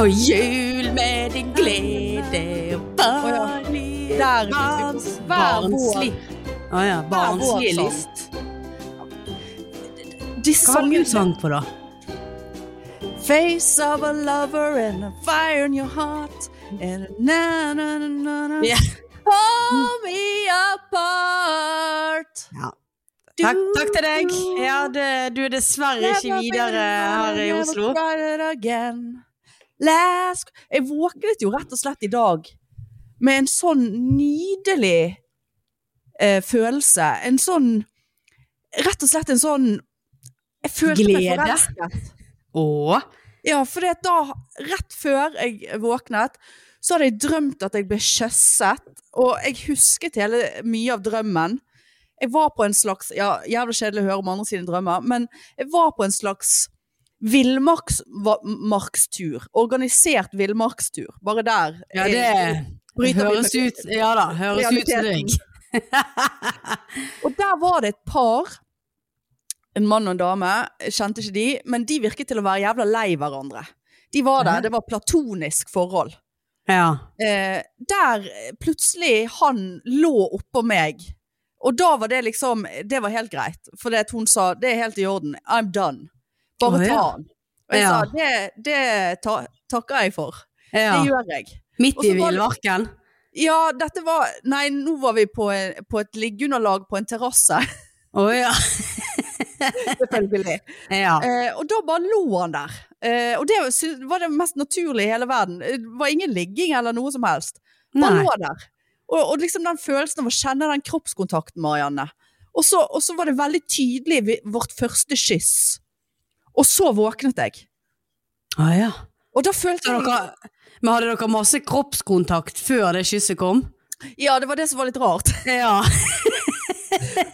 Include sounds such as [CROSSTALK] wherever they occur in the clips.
Og jul med din glede og barnlig Der fikk vi på barns- hver vår. Barnslig. Å ja. Barnslig vår sang. list. De sang jo sang på, da. sånn, Face of a lover and a fire in your heart. And a na na na na na. Ja. Pull me apart. Ja. Takk, takk til deg. Ja, det, du er dessverre ikke Never videre been her i alone, Oslo. never tried it again. Last Jeg våknet jo rett og slett i dag med en sånn nydelig eh, følelse. En sånn Rett og slett en sånn Jeg følte Glede. meg forelsket. Å, Ja, for det at da, rett før jeg våknet, så hadde jeg drømt at jeg ble kjøsset, og jeg husket hele mye av drømmen. Jeg var på en slags, ja, jævlig kjedelig å høre om andre sine drømmer, men jeg var på en slags villmarkstur, organisert villmarkstur, bare der. ja, det Eh, Bryter vi høres med- ut Ja da, høres ut som Realiteten. deg. Og der var det et par, en mann og en dame, jeg kjente ikke de, men de virket til å være jævla lei hverandre. De var der, det var platonisk forhold. Ja. eh, der plutselig han lå oppå meg. Og da var det liksom Det var helt greit. For det at hun sa det er helt i orden. I'm done. Bare Å, ja. ta han. Og jeg Ja. sa det, det ta, takker jeg for. ja. Det gjør jeg. Og Midt i så var det- villmarken. Ja, dette var Nei, nå var vi på, eh, på et liggeunderlag på en terrasse. [LAUGHS] Å ja. Selvfølgelig. ja. Eh, og da bare lo han der. Eh, og det sy- var det mest naturlige i hele verden. Eh, Det var ingen ligging eller noe som helst. Bare Nei. lå der. Og, og liksom den følelsen av å kjenne den kroppskontakten, Marianne. Og så, og så var det veldig tydelig ved vårt første kyss. Og så våknet jeg. Å ja. Og da følte Så jeg dere, men hadde dere masse kroppskontakt før det kysset kom? Ja, det var det som var litt rart. Ja.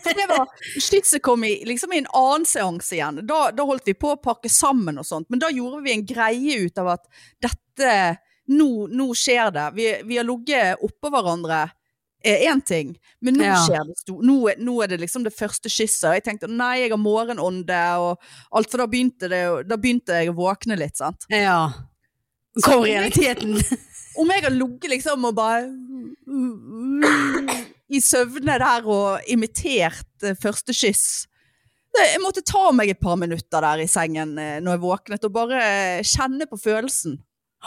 For det var Skytset kom i, liksom i en annen seanse igjen. Da, da holdt vi på å pakke sammen og sånt. Men da gjorde vi en greie ut av at dette Nå, nå skjer det. Vi, vi har ligget oppå hverandre. Én ting, men nå Ja. skjer det stor. Nå, er- nå er det liksom det første kysset. Og jeg tenkte nei, jeg har morgenånde og alt, for da begynte, det, jo- da begynte jeg å våkne litt, sant. ja. Kom realiteten. Om jeg har ligget liksom og bare I søvne der og imitert eh, første kyss. Det- Jeg måtte ta meg et par minutter der i sengen eh, når jeg våknet, og bare eh, kjenne på følelsen.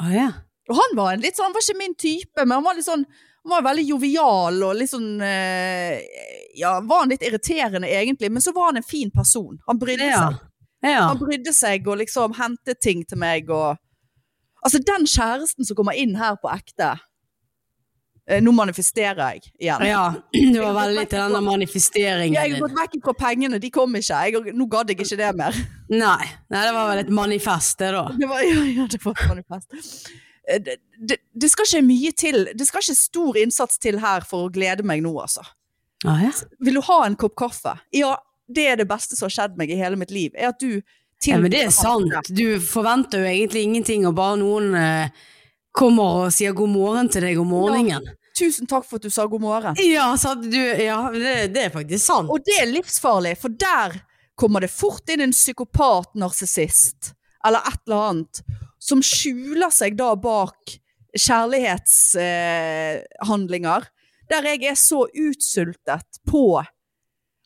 Å ja. Og han var en litt sånn, han var ikke min type, men han var litt sånn han var veldig jovial og litt sånn eh, Ja, var han litt irriterende egentlig, men så var han en fin person. Han brydde Ja. seg. ja. Han brydde seg og liksom hentet ting til meg og Altså, den kjæresten som kommer inn her på ekte eh, Nå manifesterer jeg igjen. Ja. Du var veldig til denne Jeg manifesteringen har din. gått vekk fra pengene, de kom ikke. Jeg, nå gadd jeg ikke det mer. [LAUGHS] Nei. Nei, det var vel et manifest, det da. Det var, ja, ja, det var et manifest. Eh, Det, det, det skal ikke mye til. Det skal ikke stor innsats til her for å glede meg nå, altså. Å ja. Vil du ha en kopp kaffe? Ja, det er det beste som har skjedd meg i hele mitt liv. Er at du Ja, men det er tilbyr andre. sant. Du forventer jo egentlig ingenting, og bare noen eh, kommer og sier god morgen til deg om morgenen. Tusen takk for at du sa god morgen. Ja, sant. Du, ja det, det er faktisk sant. Og det er livsfarlig, for der kommer det fort inn en psykopat narsissist, eller et eller annet, som skjuler seg da bak kjærlighetshandlinger, eh, handlinger, der jeg er så utsultet på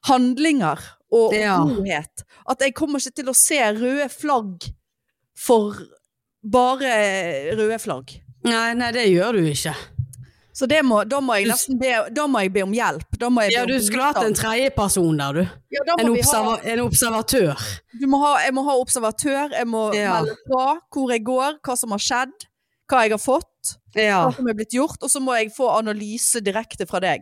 handlinger og Ja. godhet, at jeg kommer ikke til å se røde flagg for bare røde flagg. Nei, nei, det gjør du ikke. Så det må, da, må jeg Du- nesten be, da må jeg be om hjelp. Da må jeg be Ja, om du skulle hatt en bistand. tredjeperson der, du. Ja, da må En, vi ha- observa en observatør. du må ha, jeg må ha observatør, jeg må Ja. melde fra hvor jeg går, hva som har skjedd, hva jeg har fått, Ja. hva som er blitt gjort, og så må jeg få analyse direkte fra deg.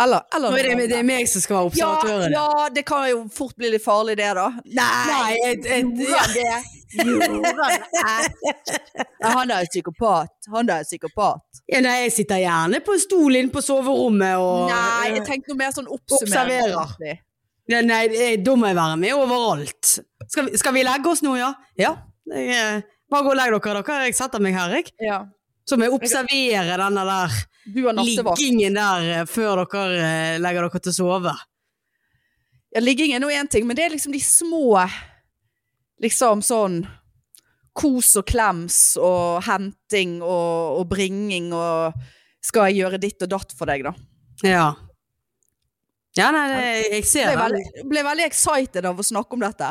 Eller, Nå eller er det, det er meg som skal være ja, observatøren. ja, det kan jo fort bli litt farlig, det, da. Nei, et, et, ja. det? Gjorde han det? Nei, han er jo psykopat. Han er jo psykopat. [LAUGHS] Ja, nei, jeg sitter gjerne på en stol inne på soverommet og Nei, jeg tenkte noe mer sånn oppsummering. Observerer. egentlig. Ja, nei, jeg- da må jeg være med overalt. Skal, vi- skal vi legge oss nå, ja? Ja. Jeg, eh, bare gå og legg dere, dere. Jeg setter meg her, jeg. Ja. Så må jeg observere denne der Du har nattevakt. liggingen der eh, før dere eh, legger dere til å sove. Ja, ligging er nå én ting, men det er liksom de små Liksom sånn kos og klems og henting og, og bringing og skal jeg gjøre ditt og datt for deg, da. Ja. Ja, nei, det, jeg ser Ble det. veldig, ble veldig excited av å snakke om [LAUGHS] dette.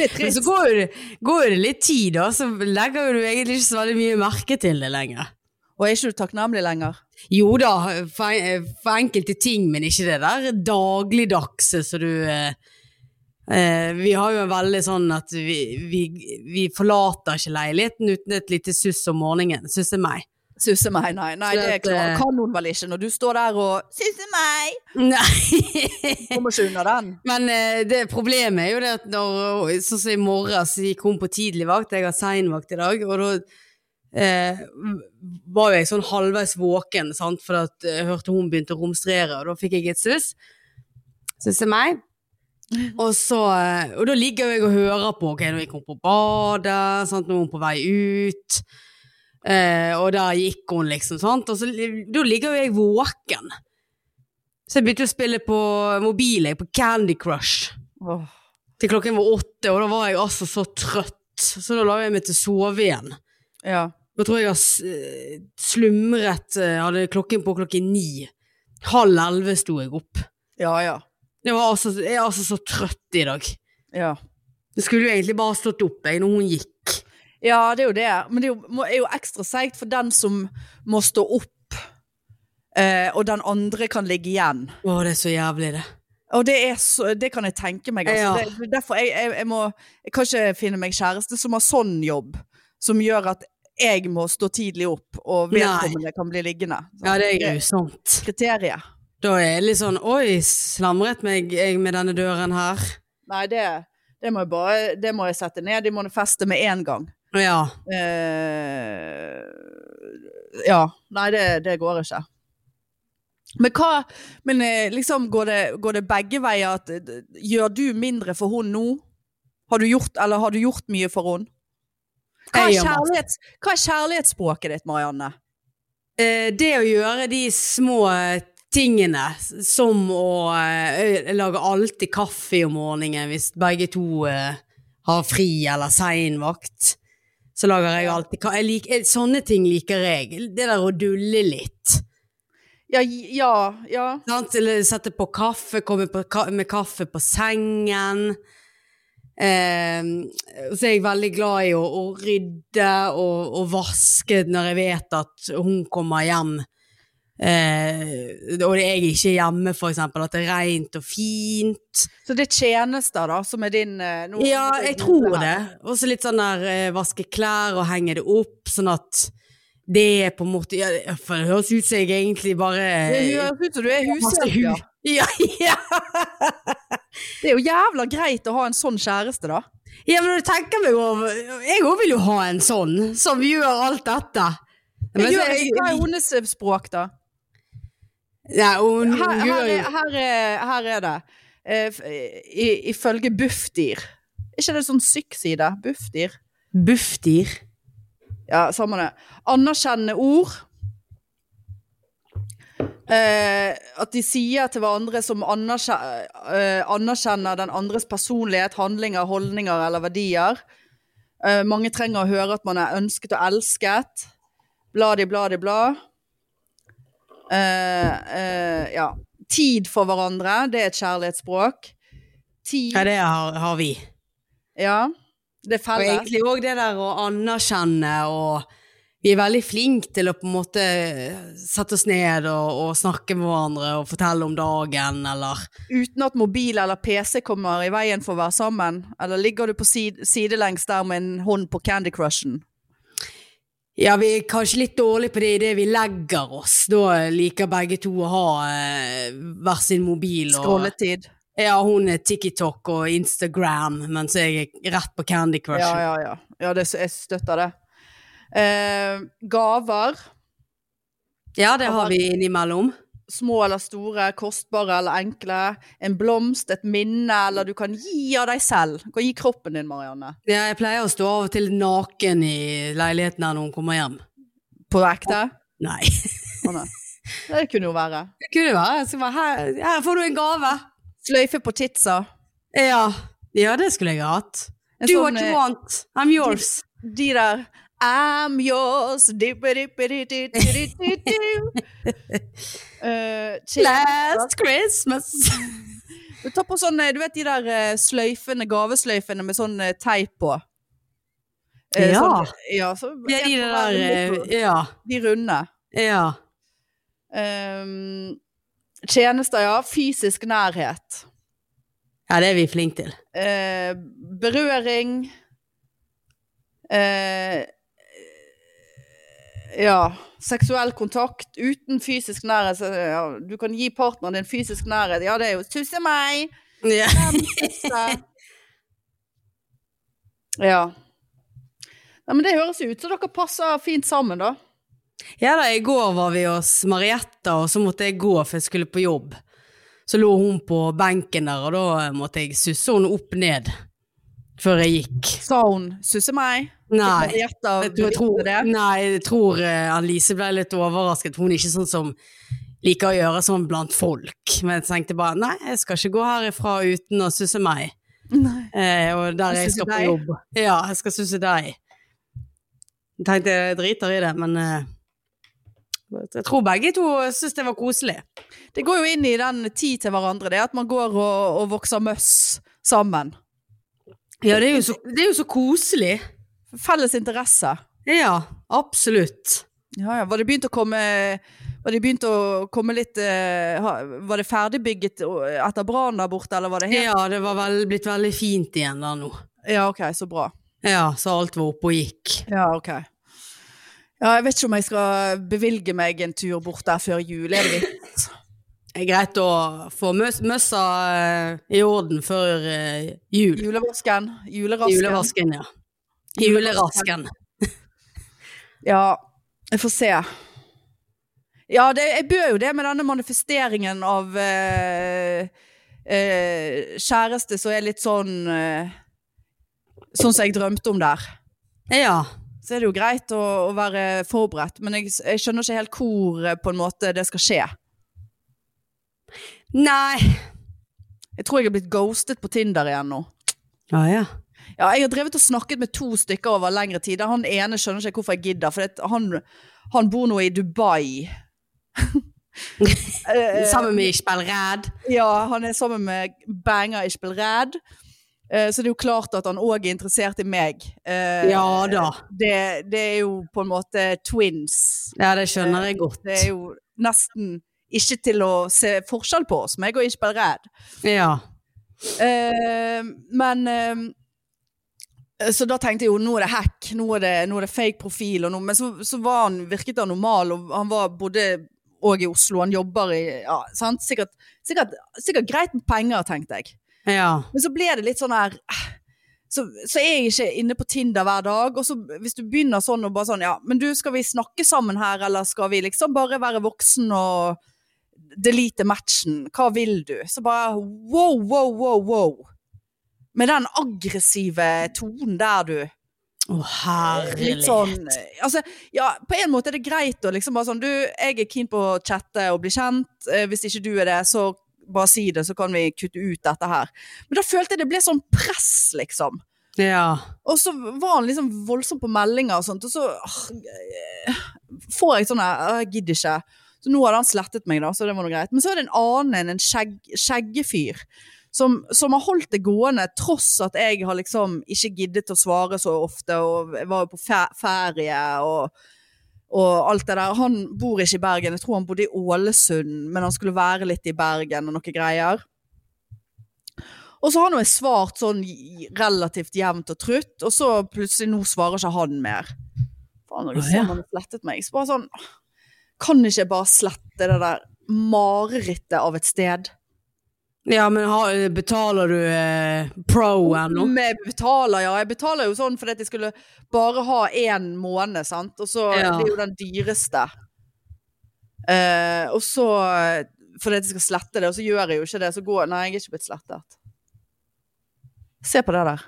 det er Men så trist. går jo det, går jo det litt tid, da, så legger jo du egentlig ikke så veldig mye merke til det lenger. Og er ikke du takknemlig lenger? Jo da, for, en- for enkelte ting, men ikke det der dagligdagse som du eh, eh, Vi har jo en veldig sånn at vi, vi, vi forlater ikke leiligheten uten et lite suss om morgenen, susser meg. Susse meg, nei. nei Så det er at, klart. eh, kan hun vel ikke, når du står der og Susse meg! Nei. Kommer ikke unna den. [LAUGHS] Men eh, det problemet er jo det at når, sånn som i morges gikk hun på tidlig vakt, jeg har sein vakt i dag, og da eh, var jo jeg sånn halvveis våken, sant, for at eh, jeg hørte hun begynte å romstrere, og da fikk jeg et suss. Suss er meg. Og, så, eh, og da ligger jeg og hører på, ok, nå gikk hun på badet, sant, nå er hun på vei ut, eh, og der gikk hun liksom, sant, og så, da ligger jo jeg våken. Så jeg begynte å spille på mobil, jeg, på Candy Crush. Åh. Til klokken var åtte, og da var jeg altså så trøtt. Så da la jeg meg til å sove igjen. Ja. Da tror jeg jeg har s- eh, slumret, eh, hadde klokken på klokken ni. Halv elleve sto jeg opp. Ja, ja. Det var altså, jeg er altså så trøtt i dag. Ja. Jeg skulle jo egentlig bare ha stått opp jeg, når hun gikk. ja, det er jo det. Men det er jo, må- er jo ekstra seigt for den som må stå opp, eh, og den andre kan ligge igjen. Å, det er så jævlig, det. Og det, er så, det kan jeg tenke meg. Altså. Ja. Det, det er derfor jeg, jeg, jeg, må, jeg kan ikke finne meg kjæreste som har sånn jobb, som gjør at jeg må stå tidlig opp, og Nei. vedkommende kan bli liggende. Så Ja, det er grusomt. Kriteriet. Da er det litt sånn Oi, slamret meg jeg med denne døren her? Nei, det, det, må jeg bare, det må jeg sette ned i manifestet med en gang. Ja. Eh, ja. Nei, det, det går ikke. Men hva Men eh, liksom, går det, går det begge veier at eh, Gjør du mindre for hun nå? Har du gjort, eller har du gjort mye for hun? Hva er, Jeg gjør masse. kjærlighets, hva er kjærlighetsspråket ditt, Marianne? Eh, det å gjøre de små eh, tingene, s- som å eh, ø- lage alltid kaffe om morgenen hvis begge to eh, har fri eller sein vakt, så lager jeg alltid kaffe. Jeg lik, eh, sånne ting liker jeg. Det der å dulle litt. Ja, gi- ja, ja. Sant? Eller sette på kaffe, komme på, ka- med kaffe på sengen. Eh, og så er jeg veldig glad i å, å rydde og, og vaske når jeg vet at hun kommer hjem. Eh, og jeg er ikke hjemme, for eksempel. At det er rent og fint. Så det er tjenester, da, som er din eh, nå- Ja, jeg tror det. Og så litt sånn der eh, vaske klær og henge det opp, sånn at det er på en måte ja, For det høres ut som jeg egentlig bare eh, Det høres ut som du er hushjelp, ja. [LAUGHS] Ja, ja. Det er jo jævla greit å ha en sånn kjæreste, da. Ja, men når du tenker meg over Jeg òg vil jo ha en sånn, som gjør alt dette. Men Men så, gjør, jeg, hva er hennes eh, språk, da? Nei, hun, hun Her, her, gjør er, jo her, er, her er det. Eh, f- i- Ifølge Bufdir. Er ikke det sånn syk-side? Bufdir? Buffdyr. Ja, samme det. Anerkjenne ord. Eh, at de sier til hverandre som anerkje- eh, anerkjenner den andres personlighet, handlinger, holdninger eller verdier. Eh, mange trenger å høre at man er ønsket og elsket. Bladi, bladi, bla. Eh, eh, ja. Tid for hverandre, det er et kjærlighetsspråk. Tid, Ja, det har, har vi. ja. Det er Og felles. egentlig òg det der å anerkjenne og Vi er veldig flinke til å på en måte sette oss ned og, og snakke med hverandre og fortelle om dagen, eller uten at mobil eller PC kommer i veien for å være sammen? Eller ligger du på sid sidelengs der med en hånd på Candy Crushen? Ja, vi er kanskje litt dårlige på det idet vi legger oss. Da liker begge to å ha eh, hver sin mobil. og... Scrolletid. Ja, hun er TikTok og Instagram, mens jeg er rett på Candy Crush. Ja, ja, ja. ja det, jeg støtter det. Eh, gaver. Ja, det har vi innimellom. Små eller store, kostbare eller enkle. En blomst, et minne, eller du kan gi av deg selv. Du kan gi kroppen din, Marianne. Ja, jeg pleier å stå av og til naken i leiligheten her når hun kommer hjem. På ekte. [LAUGHS] Nei. Å, nei. Det kunne jo være. Det kunne være. Jeg skal bare, her, her får du en gave. Sløyfe på titsa. Ja. Ja, det skulle jeg hatt. En Do sånn, what you eh, want. I'm yours. De der I'm yours dipperi-peri-di-di-di-di-di. [LAUGHS] Eh, til- Last Christmas. Du tar på sånne, du vet de der eh, sløyfene, gavesløyfene med sånn eh, teip på. Eh, Ja. sånn- ja, så, [LAUGHS] Ja, de der eh, Ja. De runde. ja. Ehm, tjenester, ja. Fysisk nærhet. Ja, det er vi flinke til. Eh, berøring. Eh, ja. Seksuell kontakt uten fysisk nærhet. Så, ja, du kan gi partneren din fysisk nærhet. Ja, det er jo 'tusse meg'. Ja. Tusse. Ja. Nei, men Det høres jo ut som dere passer fint sammen, da. Ja da, i går var vi hos Marietta, og så måtte jeg gå for jeg skulle på jobb. Så lå hun på benken der, og da eh, måtte jeg susse henne opp ned før jeg gikk. Sa hun 'susse meg'? Nei, Jeg tror, jeg tror, jeg tror, nei, jeg tror eh, Annelise ble litt overrasket. for Hun er ikke sånn som liker å gjøre sånn blant folk. Men jeg tenkte bare nei, jeg skal ikke gå herifra uten å susse meg. Nei. Eh, og der jeg Susse skal på deg? jobb. Ja, jeg skal susse deg. Jeg tenkte jeg driter i det, men eh, jeg tror begge to syntes det var koselig. Det går jo inn i den tid til hverandre, det at man går og, og vokser møss sammen. Ja, det er jo så, det er jo så koselig. Felles interesse. Ja, absolutt. Ja, ja. Var det begynt å komme var det begynt å komme litt eh, ha- Var det ferdigbygget og- eh, etter brannen der borte, eller var det helt Ja, det var vel, blitt veldig fint igjen der nå. Ja, OK, så bra. Ja, så alt var oppe og gikk. Ja, ok. Ja, jeg vet ikke om jeg skal bevilge meg en tur bort der før jul. Er det [LAUGHS] vits? Det er greit å få møs, møssa eh, i orden før eh, jul. Julevasken? Julerasken? Julevasken, ja. Julerasken. Ja, jeg får se. Ja, det, jeg bør jo det med denne manifesteringen av eh, eh, kjæreste som er litt sånn eh, Sånn som jeg drømte om der. Ja. Så er det jo greit å, å være forberedt, men jeg, jeg skjønner ikke helt hvor eh, på en måte det skal skje. Nei. Jeg tror jeg er blitt ghostet på Tinder igjen nå. Ja, ja. Ja, jeg har drevet og snakket med to stykker over lengre tid. Han ene skjønner ikke hvorfor jeg gidder, for det, han, han bor nå i Dubai. [LAUGHS] Eh, Sammen med Ishbel Ræd. Ja, han er sammen med Banger Ishbel Red. Eh, Så det er jo klart at han òg er interessert i meg. Eh, Ja da. Det, det er jo på en måte twins. Ja, det skjønner jeg godt. eh, Det er jo nesten ikke til å se forskjell på oss, meg og Ishbel Red. Ja. Eh, men eh, Så da tenkte jeg jo nå er det hack, nå er det, nå er det fake profil og noe. Men så, så var han, virket han normal, og han var, bodde òg i Oslo. Han jobber i ja, sant? Sikkert, sikkert, sikkert greit med penger, tenkte jeg. Ja. Men så ble det litt sånn her eh, så, så er jeg ikke inne på Tinder hver dag. Og så hvis du begynner sånn og bare sånn Ja, men du, skal vi snakke sammen her, eller skal vi liksom bare være voksen og delete matchen? Hva vil du? Så bare wow, wow, wow, wow. Med den aggressive tonen der, du. Å, herlig. Litt sånn eh, Altså, ja, på en måte er det greit å liksom bare sånn Du, jeg er keen på å chatte og bli kjent. Eh, Hvis ikke du er det, så bare si det, så kan vi kutte ut dette her. Men da følte jeg det ble sånn press, liksom. Ja. Og så var han liksom voldsom på meldinger og sånt, og så ah, får jeg sånn her «Åh, Jeg gidder ikke. Så nå hadde han slettet meg, da, så det var noe greit. Men så er det en annen, en skjegg, skjeggefyr, som, som har holdt det gående tross at jeg har liksom ikke giddet å svare så ofte, og jeg var jo på fe- ferie og og alt det der. Han bor ikke i Bergen, jeg tror han bodde i Ålesund, men han skulle være litt i Bergen og noe greier. Og så har nå jeg svart sånn j- relativt jevnt og trutt, og så plutselig nå svarer ikke han mer. Faen, når du Å, ser ja. han har slettet meg. Så bare sånn Kan ikke jeg bare slette det der marerittet av et sted? Ja, men har, betaler du eh, pro ennå? Om jeg betaler, ja. Jeg betaler jo sånn fordi at jeg skulle bare ha én måned, sant. Og så Ja. Det er jo den dyreste. Eh, og så Fordi at jeg skal slette det, og så gjør jeg jo ikke det. Så går Nei, jeg er ikke blitt slettet. Se på det der.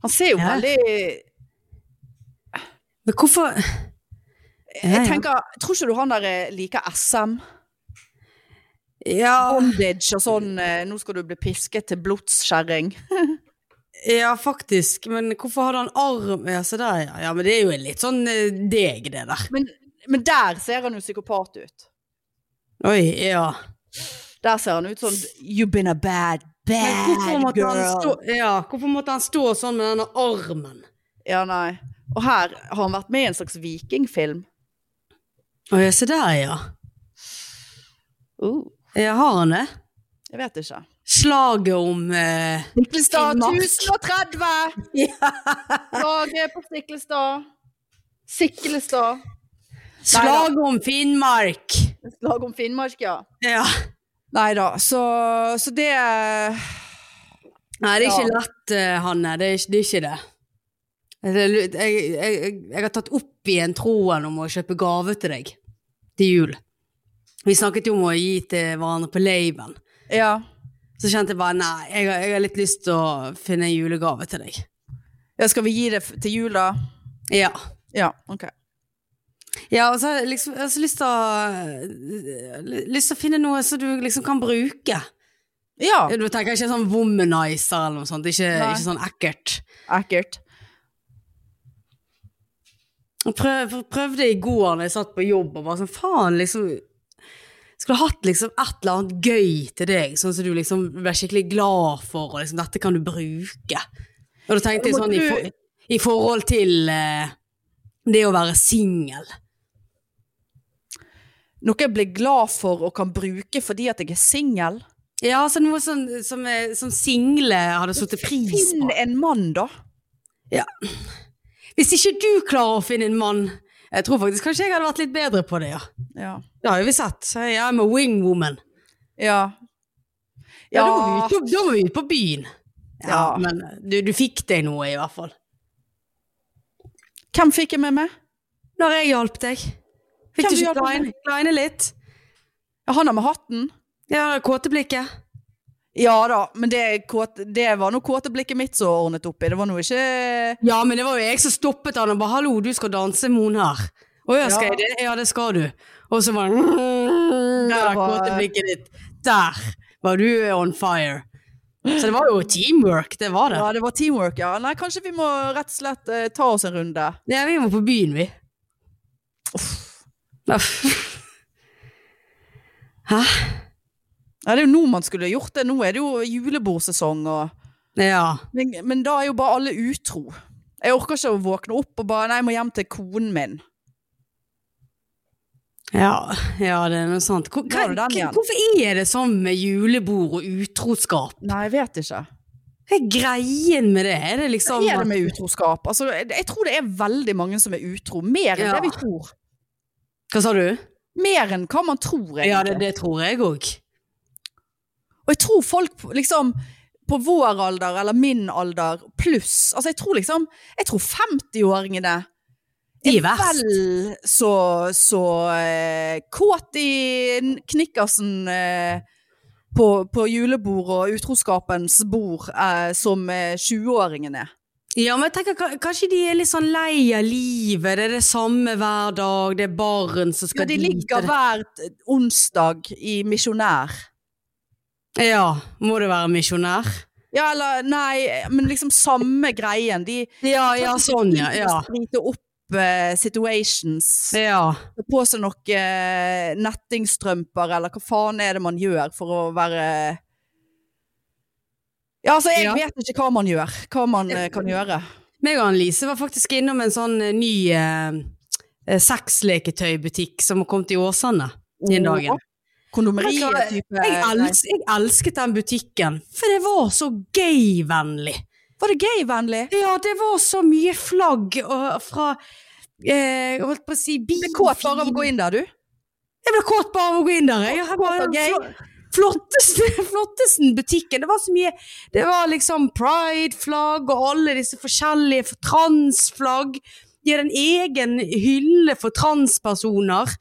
Han ser jo Ja. veldig Men hvorfor Ja, Jeg ja. eh, tenker, Tror ikke du han der eh, liker SM? Ja, Bondage og sånn eh, 'nå skal du bli pisket til blods, kjerring'. ja, faktisk. Men hvorfor hadde han arm Ja, se der, ja. ja. Men det er jo en litt sånn eh, deg, det der. Men der ser han jo psykopat ut. Oi, ja. Der ser han ut sånn 'you've been a bad, Men hvorfor bad måtte, han stå, girl'. ja, hvorfor måtte han stå sånn med denne armen? Ja, nei. Og her har han vært med i en slags vikingfilm. Å ja, se der, ja. Uh, Ja, har han det? jeg vet ikke. Slaget om eh, Stiklestad Finnmark. 1030! ja. Laget på Stiklestad. Siklestad. Slaget om Finnmark! Slag om Finnmark, ja. Ja. Nei da, så, så det Nei, det er ikke Ja. lett, eh, Hanne. Det er ikke det. Er ikke det. Det er lu- Jeg, jeg, jeg, jeg har tatt opp igjen troen om å kjøpe gave til deg til jul. Vi snakket jo om å gi til hverandre på laben. Ja. Så kjente jeg bare nei, jeg, har- jeg har litt lyst til å finne en julegave til deg. ja. Skal vi gi det f- til jul, da? Ja. Ja, OK. ja og så har jeg liksom jeg har så lyst til å eh, Lyst til å finne noe som du liksom kan bruke. Ja, Du tenker ikke sånn womanizer eller noe sånt. Ikke, Nei. ikke sånn ekkelt. ekkelt. Jeg prøv, prøvde i går når jeg satt på jobb og var sånn, faen liksom Skulle hatt liksom et eller annet gøy til deg, sånn som du liksom ble skikkelig glad for, og liksom dette kan du bruke. Og da tenkte jeg Ja, sånn men i, du- for, i forhold til eh, det å være singel. Noe jeg blir glad for og kan bruke fordi at jeg er singel. Ja, altså noe sånn, som, eh, som single hadde satt pris Finn på. en mann, da. Hvis ikke du klarer å finne en mann Jeg tror faktisk kanskje jeg hadde vært litt bedre på det, ja. Ja. Det har jo vi sett. Så jeg er med wingwoman. Ja. Ja, da må vi ut på, da må vi ut på byen. Ja, Ja. Men du, du fikk deg noe, i hvert fall. Hvem fikk jeg med meg? Når jeg hjalp deg. Fikk Hvem du ikke hjalp meg? kleine, kleine litt? Ja, Han er med hatten? Ja, det kåte blikket. Ja da, men det, er kåt, det var nå kåte blikket mitt som ordnet opp i. Det var nå ikke Ja, men det var jo jeg som stoppet han og bare 'hallo, du skal danse, Mon her'. Å ja, skal Ja. jeg det? Ja, det skal du. Og så var han Der var- kåte blikket ditt. Der var du on fire. Så det var jo teamwork, det var det. Ja, det var teamwork, ja. Nei, kanskje vi må rett og slett eh, ta oss en runde. Ja, vi må på byen, vi. Uff. Hæ? Ja, det er jo nå man skulle gjort det. Nå er det jo julebordsesong og Ja. men, men da er jo bare alle utro. Jeg orker ikke å våkne opp og bare Nei, jeg må hjem til konen min. Ja, ja, det er noe sant. Hvor, Da hva, er det den igjen. hvorfor er det sånn med julebord og utroskap? Nei, jeg vet ikke. Sånn Hva er greien med det? Er det Hva liksom er det med utroskap? Altså, jeg, jeg tror det er veldig mange som er utro. Mer enn Ja. det vi tror. Hva sa du? Mer enn hva man tror, egentlig. Ja, det, det tror jeg òg. Og jeg tror folk liksom på vår alder, eller min alder, pluss Altså, jeg tror liksom Jeg tror 50-åringene De er verst. vel så, så eh, kåt i knikkersen eh, på, på julebord og utroskapens bord eh, som eh, 20-åringen er. Ja, men jeg tenker ka- kanskje de er litt sånn lei av livet. Det er det samme hver dag. Det er barn som Ja, skal de dit, ligger og det- hver t- onsdag i misjonær. Ja, må du være misjonær? Ja, eller nei, men liksom samme greien. De Ja, ja, sånn, ja. Ja. driter opp eh, situations. ja. Ta på seg noen eh, nettingstrømper, eller hva faen er det man gjør for å være Ja, altså, jeg Ja. vet ikke hva man gjør. Hva man eh, [LAUGHS] kan gjøre. Meg og Annelise var faktisk innom en sånn eh, ny eh, eh, sexleketøybutikk som har kommet i Åsane den dagen. Kondomeriet Jeg, type els, jeg elsket den butikken, for det var så gay-vennlig. Var det gay-vennlig? Ja, det var så mye flagg og, fra eh, Jeg holdt på å si bil... Ble kåt bare av å gå inn der, du? Jeg ble kåt bare av å gå inn der. Jeg, jeg Kåt og gay. bare, [LAUGHS] flottesten, flottesten butikken. Det var så mye Det var liksom pride-flagg og alle disse forskjellige for transflagg. De hadde en egen hylle for transpersoner.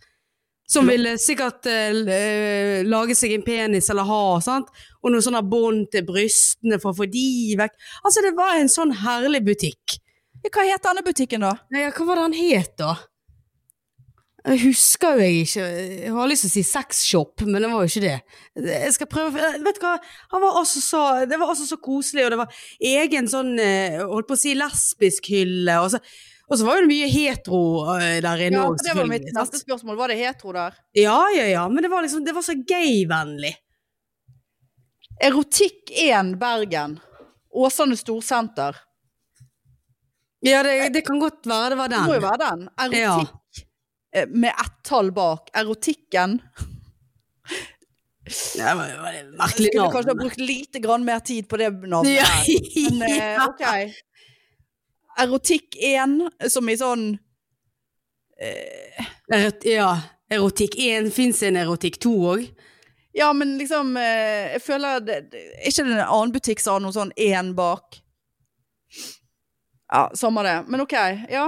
Som ville sikkert eh, l- eh, lage seg en penis eller ha, sant? og noen sånne bånd til brystene for å få de vekk. Altså, det var en sånn herlig butikk. Ja, Hva het denne butikken, da? Nei, ja, hva var det han het, da? Jeg husker jo jeg ikke, jeg har lyst til å si sexshop, men det var jo ikke det. Jeg skal prøve, vet du hva, han var altså så, det var altså så koselig, og det var egen sånn, eh, holdt på å si lesbisk hylle, og så, og så var jo det mye hetero eh, der inne Ja, også, for det var mitt selvfølgelig, sant? neste spørsmål. Var det hetero der? Ja, ja, ja, men det var liksom, det var så gay-vennlig. Erotikk 1 Bergen. Åsane Storsenter. Ja, det, det kan godt være det var Det den. må jo være den. Erotikk eh, med ett tall bak. Erotikken. Det var, det var et merkelig Skulle kanskje ha navn. brukt lite grann mer tid på det navnet. Ja. [LAUGHS] Men eh, ok. Erotikk 1, som i sånn eh, Erot, ja, erotikk 1 finnes en erotikk 2 også. Ja, men liksom eh, Jeg føler det, det, Er ikke det en annen butikk som har noe sånn én bak? Ja, samme det. Men ok, ja.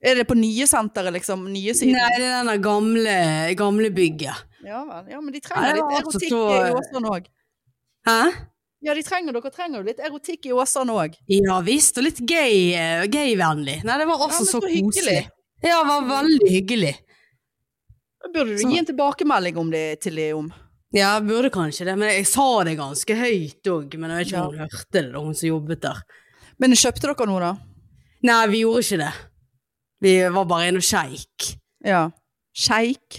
Er det på nye senteret, liksom? Nye siden? Nei, det er den der gamle, gamle bygget. Ja vel. Ja, men de Nei, trenger det var litt altså erotikk så- i Åsane òg. Hæ? Ja, de trenger, dere trenger jo litt erotikk i Åsane òg. Ja visst, og litt gay, eh, gay-vennlig. Nei, det var også men så, så hyggelig. koselig. Ja, det var veldig hyggelig. Da Burde du Så- gi en tilbakemelding om det til dem? om. Ja, jeg burde kanskje det, men jeg sa det ganske høyt òg. Men jeg vet ikke om hun hørte det, da, hun som jobbet der. Men kjøpte dere noe, da? Nei, vi gjorde ikke det. Vi var bare inne og sjeik. Ja. Sjeik?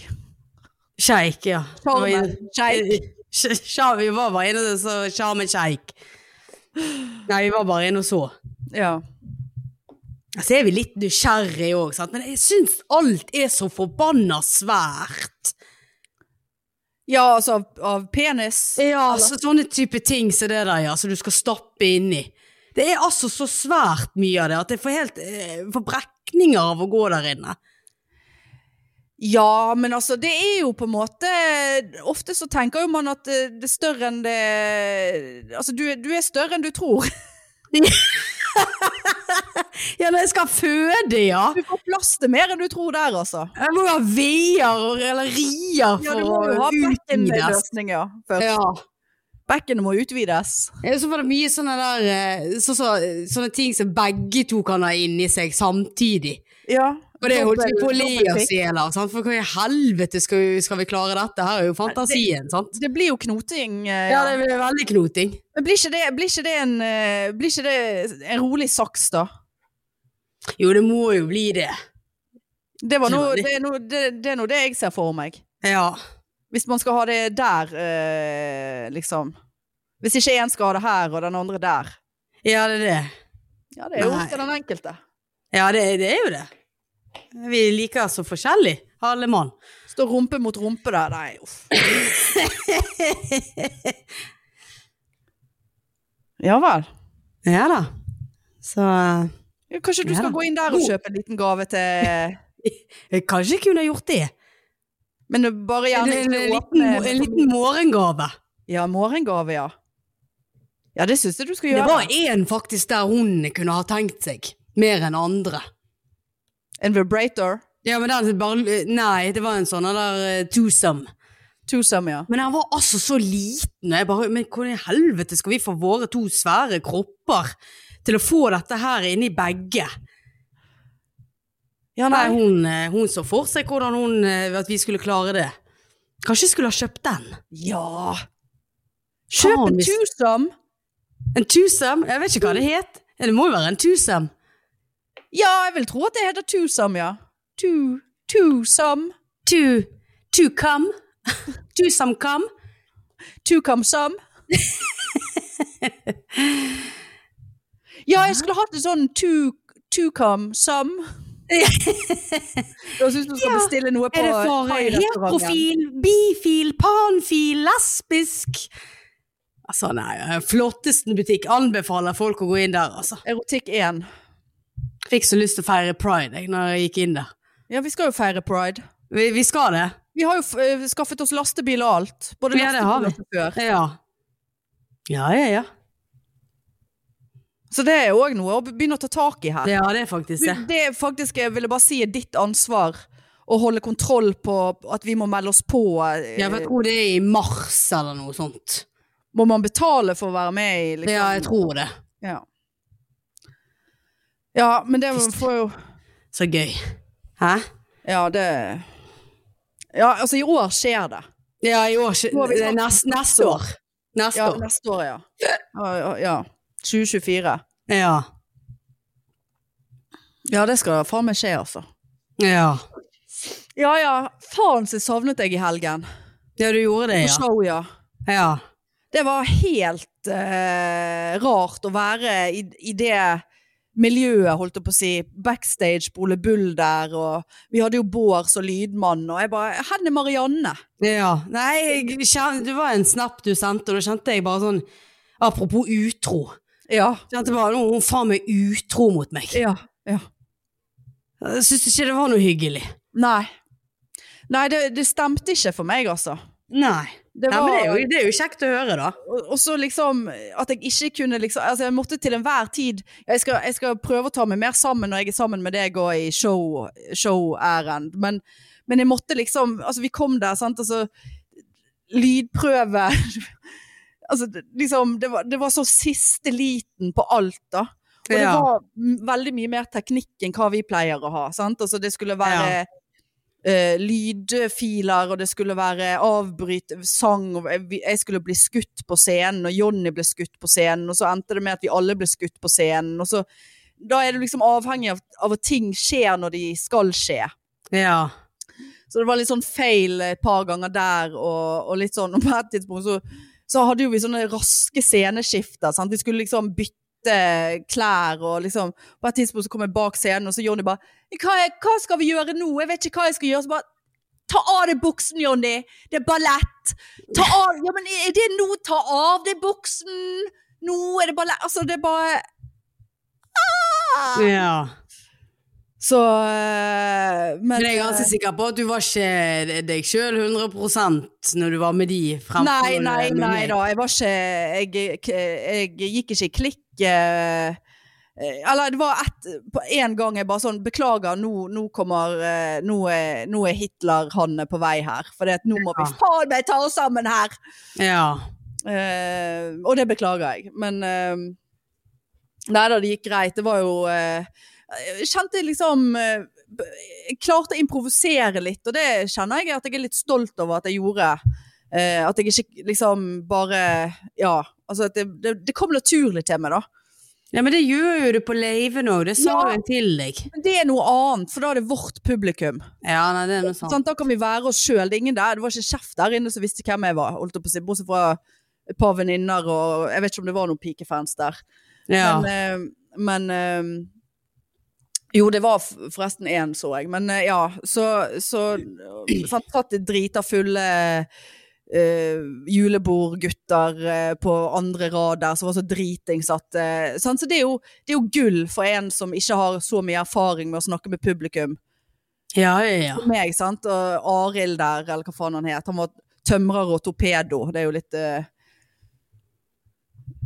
Sjeik, ja. Det var Sjarmen? inne- [LAUGHS] Sjeik? Sj- sja- Vi var bare inne og så sjarmen sjeik. Nei, vi var bare inne og så. Ja. Så er vi litt nysgjerrige òg, sant. Men jeg syns alt er så forbanna svært. Ja, altså av, av penis? Altså, Ja, Eller- så, Altså, sånne type ting som det der, ja, som du skal stappe inni. Det er altså så svært mye av det at jeg får helt eh, får brekninger av å gå der inne. Ja, men altså, det er jo på en måte Ofte så tenker jo man at eh, det er større enn det Altså, du, du er større enn du tror. Ja, når jeg skal føde, ja. Du får plass til mer enn du tror der, altså. Jeg må jo ha veier og- eller rier Ja, for du må jo å ha utvides. bekkenløsninger først. Ja. Bekkenet må utvides. Ja, Så var det mye sånne der eh, så, så, Sånne ting som begge to kan ha inni seg samtidig. Ja. Og det holdt vi dobbel- på å le dobbeltpikk. oss i hjel av, sant? for hva i helvete skal, vi- skal vi klare dette? Her er jo fantasien, sant? Det blir jo knoting. eh, Ja, det blir veldig knoting. Men blir ikke det, blir ikke det, en, eh, blir ikke det en rolig saks, da? Jo, det må jo bli det. Det, var noe, Rolig. det, er noe, det, det er noe det jeg ser for meg. Ja. Hvis man skal ha det der, eh, liksom. Hvis ikke én skal ha det her, og den andre der. Ja, det er det. Ja, det er jo Nei. opp til den enkelte. Ja, det, det er jo det. Vi liker så forskjellig, alle mann. Stå rumpe mot rumpe der, nei, [LAUGHS] uff. Ja vel. ja da. Så Ja, Kanskje du Ja Oh. skal da. gå inn der og God. kjøpe en liten gave til jeg eh, kanskje jeg kunne gjort det. Men bare En, gjerne en, ikke liten, åpne mo- en liten morgengave. Ja, morgengave, ja. Ja, det syns jeg du skal Det gjøre. var én faktisk der hun kunne ha tenkt seg, mer enn andre. En vibrator. Ja, men den bare eh, Nei, det var en sånn der eh, twosome. Twosome, ja. Men han var altså så liten, og jeg bare Men hvordan i helvete skal vi få våre to svære kropper til å få dette her inni begge? Ja, Nei, nei. hun, eh, hun så for seg hvordan hun eh, At vi skulle klare det. Kanskje jeg skulle ha kjøpt den? Ja. Kjøp Faen, en hvis- twosome! En twosome? Jeg vet ikke hva det het. Ja, Det må jo være en twosome. Ja, jeg vil tro at det heter twosome, ja. Two, twosome. Two, two come. [LAUGHS] Twosome come. [LAUGHS] Two-come-some. ja, jeg skulle hatt en sånn [LAUGHS] two-come-some. Da syns du skal Ja. bestille noe på Er det for eh, thai-restauranten. heterofil, bifil, panfil, lesbisk? Altså, nei, eh, flottesten butikk. Anbefaler folk å gå inn der, altså. Erotikk 1. Fikk så lyst til å feire pride jeg, når jeg gikk inn der. Ja, vi skal jo feire pride. Vi, vi skal det. Vi har jo f eh, skaffet oss lastebil og alt. Både Ja, det har lastebil og sjåfør. Ja. Ja, ja, ja. Så det er jo òg noe å begynne å ta tak i her. Det har det faktisk, det. Men Det er faktisk, jeg ville bare si, er ditt ansvar å holde kontroll på at vi må melde oss på. eh, Ja, for jeg tror det er i mars eller noe sånt. Må man betale for å være med i liksom? Ja, jeg tror det. Ja. ja, men det får jo Så gøy. Hæ? Ja, det Ja, altså i år skjer det. Ja, i år. Nå har vi det er snakket nest, neste år. Neste Ja, år. neste år, ja. Ja, ja, ja. 2024. Ja. Ja, det skal faen meg skje, altså. ja. Ja ja, faen så savnet jeg i helgen. Ja, du gjorde det, På ja. show, ja. Ja. Det var helt eh, rart å være i, i det miljøet, holdt jeg på å si. Backstage på Ole Bull der, og vi hadde jo Bård som lydmann, og jeg bare Hen er Marianne? ja. Nei, jeg kjen- det var en snap du sendte, og da kjente jeg bare sånn Apropos utro. Ja. Kjente bare nå er hun faen meg utro mot meg. Ja. ja. Jeg syns ikke det var noe hyggelig. Nei. Nei, det, det stemte ikke for meg, altså. Nei. Det Nei, var, men det er, jo, det er jo kjekt å høre, da. og, og så liksom at jeg ikke kunne liksom Altså, jeg måtte til enhver tid jeg skal, jeg skal prøve å ta meg mer sammen når jeg er sammen med deg og i show- show-ærend, men, men jeg måtte liksom Altså, vi kom der, sant, altså Lydprøve [LAUGHS] Altså, det- liksom det var, det var så siste liten på alt, da. Og det Ja. var m- veldig mye mer teknikk enn hva vi pleier å ha. Sant? Altså, det skulle være Ja. eh, lydfiler, og det skulle være avbryt, sang, og jeg- vi- jeg skulle bli skutt på scenen, og Jonny ble skutt på scenen, og så endte det med at vi alle ble skutt på scenen. Og så, da er du liksom avhengig av, av at ting skjer når de skal skje. Ja. Så det var litt sånn feil et par ganger der, og, og litt sånn [LAUGHS] og på et tidspunkt så, så hadde jo vi sånne raske sceneskifter. Sant? Vi skulle liksom bytte klær, og liksom På et tidspunkt så kom jeg bak scenen, og så Jonny bare hva, er, 'Hva skal vi gjøre nå? Jeg vet ikke hva jeg skal gjøre.' Så bare Ta av deg buksen, Jonny! Det er ballett! Ta av Ja, men er det nå? Ta av deg buksen! Nå er det ballett Altså, det er bare ah! ja. Så eh, Men Men jeg er ganske sikker på at du var ikke deg sjøl 100 når du var med de fremfor eh, Nei, nei, med nei meg. da. Jeg var ikke Jeg, jeg, jeg gikk ikke i klikk. eh, eh, Eller det var ett På en gang jeg bare sånn Beklager, nå, nå kommer eh, Nå er, nå er Hitler-Hanne på vei her. For det at nå må vi faen meg ta oss sammen her! Ja. Eh, og det beklager jeg. Men eh, Nei da, det gikk greit. Det var jo eh, Jeg kjente liksom eh, b- Jeg klarte å improvisere litt, og det kjenner jeg at jeg er litt stolt over at jeg gjorde. Eh, at jeg ikke liksom bare Ja. Altså at det, det, det kom naturlig til meg, da. Ja, men det gjør jo du på leiven òg, det sa Ja. jeg til deg. Men det er noe annet, for da er det vårt publikum. Ja, nei, det er noe sånt. Sant? Da kan vi være oss sjøl. Det er ingen der. Det var ikke en sjef der inne som visste hvem jeg var, holdt jeg på å si. Bortsett fra et par venninner og Jeg vet ikke om det var noen pikefans der. Ja. Men, eh, men eh, Jo, det var f- forresten én, så jeg. Men eh, ja, så, så, eh, så han satt det drita fulle eh, julebordgutter eh, på andre rad der som var så dritings at eh, sant? Så det er, jo, det er jo gull for en som ikke har så mye erfaring med å snakke med publikum. eh, ja, ja, ja. For meg, sant. Og Arild der, eller hva faen han het. Han var tømrer og torpedo. Det er jo litt eh,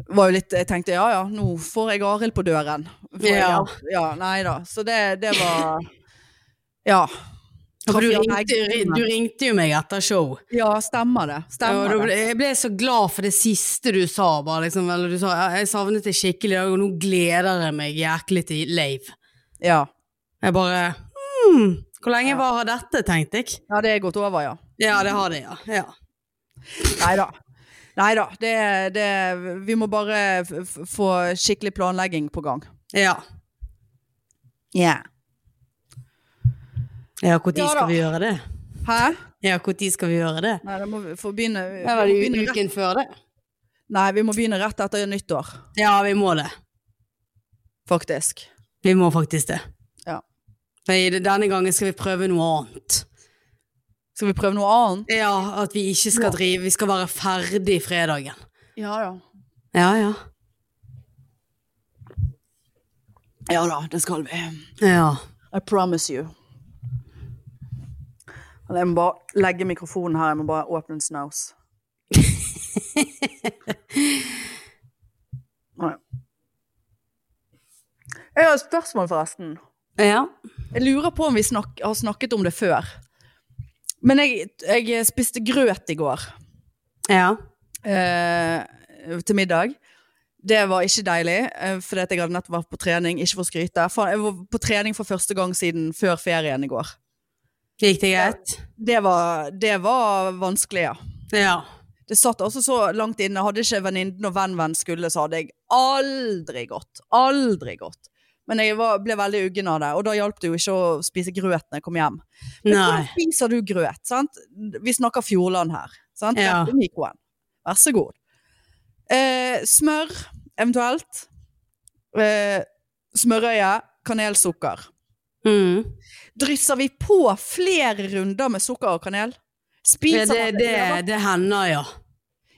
var jo litt, Jeg tenkte ja ja, nå får jeg Arild på døren. Får jeg- Ja. ja. Nei da. Så det, det var Ja. For du, Traff Jan ringte, Eggum, men- du ringte jo meg etter show. Ja, stemmer det. Og da Stemmer ble, det. jeg ble så glad for det siste du sa, bare liksom. Eller du sa "Ja, jeg savnet det skikkelig i dag, og nå gleder jeg meg jæklig til leiv. Ja. Jeg bare hmm, Hvor lenge Ja. varer dette, tenkte jeg. ja, det er gått over, ja. Ja, det har det, ja. ja. Nei da. Nei da. Det, det Vi må bare f f få skikkelig planlegging på gang. Ja, Ja. ja når Ja da. skal vi gjøre det? Hæ? Ja, når skal vi gjøre det? Nei, da må vi få begynne, vi Det var må det begynne jo uken før det. Nei, vi må begynne rett etter nyttår, Ja, vi må det. faktisk. Vi må faktisk det. Ja. Nei, denne gangen skal vi prøve noe annet. Skal vi prøve noe annet? Ja, at vi ikke skal drive Vi skal være ferdig fredagen. Ja da. Ja, ja. Ja da, det skal vi. Ja. I promise you. Eller Jeg må bare legge mikrofonen her, jeg må bare åpne en [LAUGHS] snaus. Nei. Jeg har et spørsmål, forresten. Ja. Jeg lurer på om vi snakk, har snakket om det før. Men jeg, jeg spiste grøt i går. ja. eh, til middag. Det var ikke deilig, eh, fordi at jeg hadde nettopp vært på trening. Ikke for å skryte. Faen, jeg var på trening for første gang siden før ferien i går. Gikk det greit? Det var, det var vanskelig, ja. Ja. Det satt altså så langt inne. Hadde ikke venninnen og venn-venn skulle, så hadde jeg aldri gått. Aldri gått. Men jeg var, ble veldig uggen av det, og da hjalp det jo ikke å spise grøt når jeg kom hjem. Men Nei. hvordan spiser du grøt? sant? Vi snakker Fjordland her. sant? Ja. Rett i mikroen. Vær så god. Eh, smør, eventuelt. Eh, smørøye, kanelsukker. Mm. Drysser vi på flere runder med sukker og kanel? Ja, Spiser det, man det, det hender, ja.